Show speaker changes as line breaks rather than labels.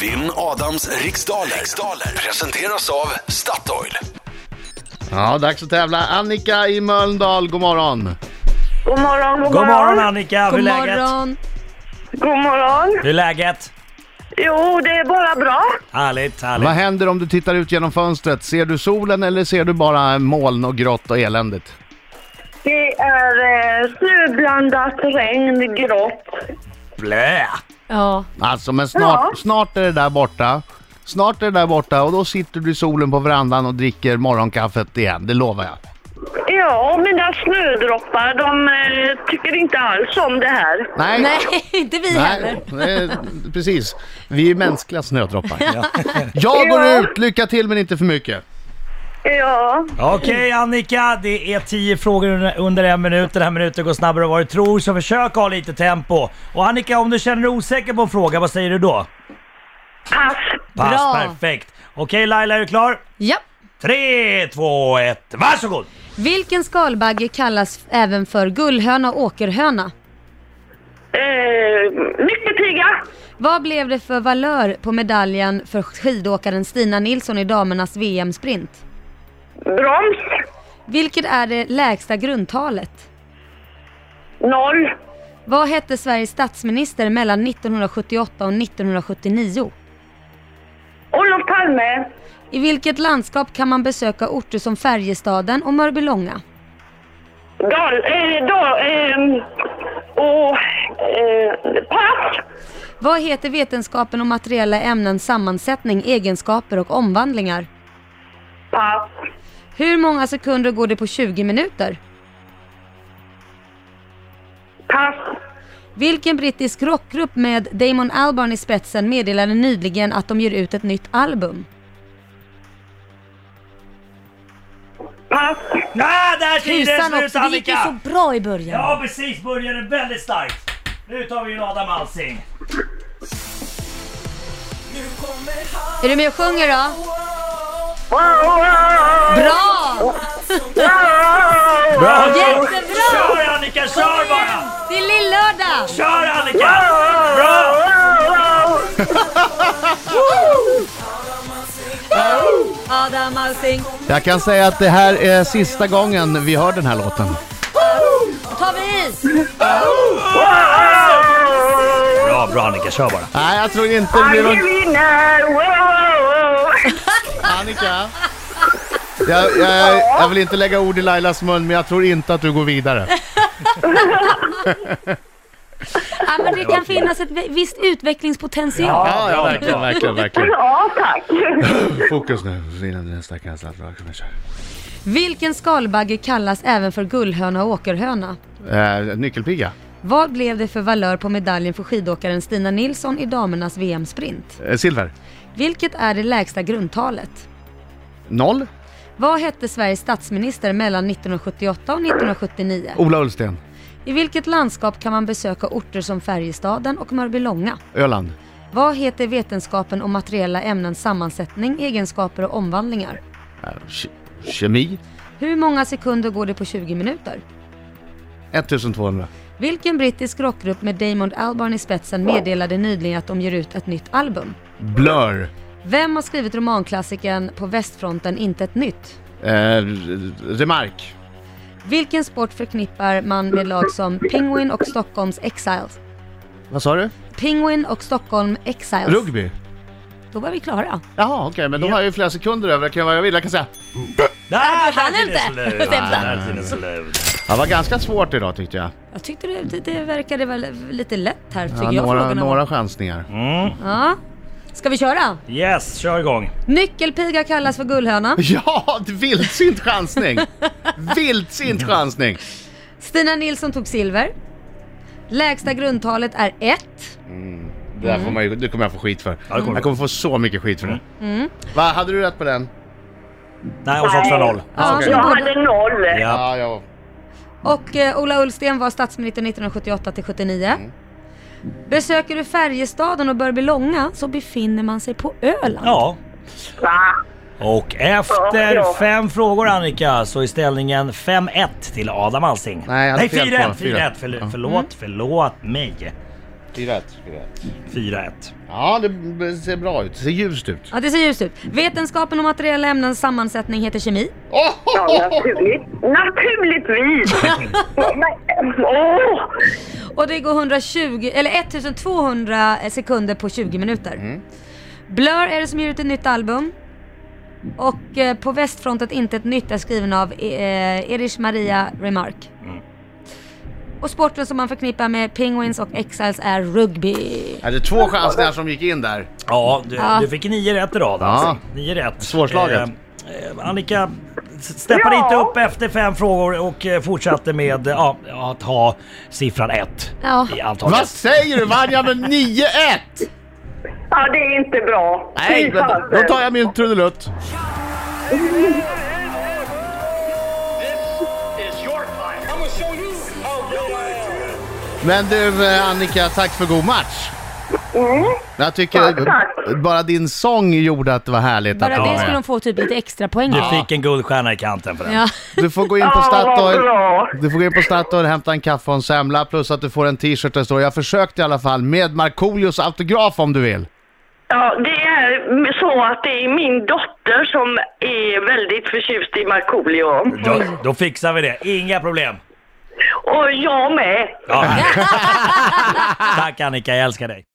Vinn Adams riksdaler. riksdaler presenteras av Statoil.
Ja, dags att tävla. Annika i Mölndal, god morgon.
God morgon, god,
God morgon
morgon.
Annika, hur
God
är läget?
morgon.
God morgon.
Hur är läget?
Jo, det är bara bra.
Härligt,
Vad
härligt.
händer om du tittar ut genom fönstret? Ser du solen eller ser du bara moln och grått och eländigt?
Det är eh, snöblandat regn, grått.
Blä!
Ja,
Alltså, men snart,
Ja.
snart är det där borta. Snart är det där borta och då sitter du i solen på verandan och dricker morgonkaffet igen, det lovar jag.
Ja, och mina snödroppar, de eh, tycker inte alls om det här.
Nej,
nej inte vi
Nej,
heller.
eh, precis. Vi är ju mänskliga snödroppar. Jag går
Ja.
ut, lycka till men inte för mycket.
Ja,
Okej Annika, det är 10 frågor under- under en minut. Den här minuten går snabbare än vad du tror, så försök ha lite tempo. Och Annika, om du känner dig osäker på en fråga, vad säger du då?
pass.
Pass,
Bra.
perfekt. Okej Laila, är du klar?
Ja.
Tre, två, ett, varsågod!
Vilken skalbagge kallas även för gullhöna och åkerhöna?
Eh, mycket pigga.
Vad blev det för valör på medaljen för skidåkaren Stina Nilsson i damernas VM-sprint?
Broms.
Vilket är det lägsta grundtalet?
Noll.
Vad hette Sveriges statsminister mellan 1978 och 1979?
Olof Palme.
I vilket landskap kan man besöka orter som Färjestaden och Mörbylånga?
Dal. Eh, dal eh, och, eh, pass.
Vad heter vetenskapen om materiella ämnens sammansättning, egenskaper och omvandlingar?
Pass.
Hur många sekunder går det på 20 minuter?
Pass.
Vilken brittisk rockgrupp med Damon Albarn i spetsen meddelade nyligen att de ger ut ett nytt album?
Pass.
Ah, där tiden är
Tusan
slut
också, det gick ju
Annika!
så bra i början.
Ja precis, började väldigt starkt. Nu tar vi in Adam Alsing.
Är du med och sjunger då? Bra!
Bra!
Jättebra!
Kör Annika, kör bara!
Det är lill-lördag!
Kör Annika! Bra!
Adam Alsing.
Jag kan säga att det här är sista gången vi hör den här låten.
tar vi is!
Bra, bra Annika, kör bara.
Nej, jag tror inte det blir någon...
Winner. Wow.
Annika? Jag, jag, jag vill inte lägga ord i Lailas mun, men jag tror inte att du går vidare.
Ja, men det kan finnas ett visst utvecklingspotential.
Ja, ja verkligen, verkligen, verkligen.
Ja, tack.
Fokus nu, innan nästa kan jag
Vilken skalbagge kallas även för gullhöna och åkerhöna?
Eh, nyckelpiga.
Vad blev det för valör på medaljen för skidåkaren Stina Nilsson i damernas VM-sprint?
Eh, silver.
Vilket är det lägsta grundtalet?
Noll.
Vad hette Sveriges statsminister mellan 1978 och 1979?
Ola Ullsten.
I vilket landskap kan man besöka orter som Färjestaden och Mörbylånga?
Öland.
Vad heter vetenskapen om materiella ämnens sammansättning, egenskaper och omvandlingar?
Eh, ke- kemi.
Hur många sekunder går det på 20 minuter?
1200.
Vilken brittisk rockgrupp med Damon Albarn i spetsen meddelade nyligen att de ger ut ett nytt album?
Blur.
Vem har skrivit romanklassikern På västfronten inte ett nytt?
Eh, remark.
Vilken sport förknippar man med lag som Penguin och Stockholms Exiles?
Vad sa du?
Penguin och Stockholm Exiles.
Rugby.
Då var vi klara.
Jaha, okej, men då har jag ju flera sekunder över. Jag kan göra vad jag vill. Jag kan säga.
Där,
hann
där tiden
inte.
slut.
Stämma.
Där är tiden slut.
Det var ganska svårt idag tyckte jag.
Jag tyckte det, det, det verkade väl lite lätt här tycker
Ja,
jag.
några,
frågorna var.
några chansningar.
Ja. Ska vi köra?
Yes, kör igång.
Nyckelpiga kallas för gullhöna.
Ja, det- vildsint chansning! vildsint chansning!
Stina Nilsson tog silver. Lägsta grundtalet är 1.
Det, där får man ju, det kommer jag få skit för.
det kommer du. Mm.
Jag kommer få så mycket skit för det. Va, hade du rätt på den?
Nej, och så också noll.
Ja,
okej.
så
Jag
båda-
hade noll.
Ja,
Ja.
ja.
Och eh, Ola Ullsten var statsminister 1978 till 79. Besöker du Färjestaden och Mörbylånga så befinner man sig på Öland.
ja.
Va?
Och
Ja, ja.
efter fem frågor Annika så är ställningen 5-1 till Adam Alsing.
Nej, jag hade fel på
4-1,
fyra.
4-1. Förl- Förlåt, förlåt mig.
4 rätt. fyra rätt.
4-1.
Ja, det ser bra ut. Det ser ljust ut.
Ja, det ser ljust ut. Vetenskapen om materiella ämnens sammansättning heter kemi.
Ja, naturligt. Naturligtvis! Men, Åh!
Och det går 120, eller 1200 sekunder på 20 minuter. Blur är det som ger ut ett nytt album. Och eh, På västfrontet inte ett nytt är skriven av eh, Erich Maria Remarque. Och sporten som man förknippar med Penguins och Exiles är rugby.
Är det två chansningar som gick in där?
Ja, du,
Ja.
du fick 9 rätt i rad alltså. 9 rätt.
Svårslaget.
Eh, eh, Annika s- steppade
Ja.
inte upp efter fem frågor och eh, fortsatte med eh, ja, att ha siffran 1
Ja.
i
Vad
antalet.
säger du? Vann jag med 9-1?
Ja, det är inte bra.
Nej,
Fy
men
fasen.
då tar jag min trudelutt. Men du eh, Annika, tack för god match. Jag tycker
Mm. Tack, tack.
bara din sång gjorde att det var härligt att
Bara
du
det
var
skulle
med.
de få typ lite extra poäng
Du
av.
fick en guldstjärna i kanten för den.
Ja.
Du får gå in på
Ja, vad
Statoil.
bra.
Du får gå in på Statoil och hämta en kaffe och en semla plus att du får en t-shirt där det står “Jag försökte i alla fall” med Markoolios autograf om du vill.
Ja, det är så att det är min dotter som är väldigt förtjust i Markoolio.
Då, då fixar vi det, inga problem.
Och jag med.
Ja. Tack Annika, jag älskar dig.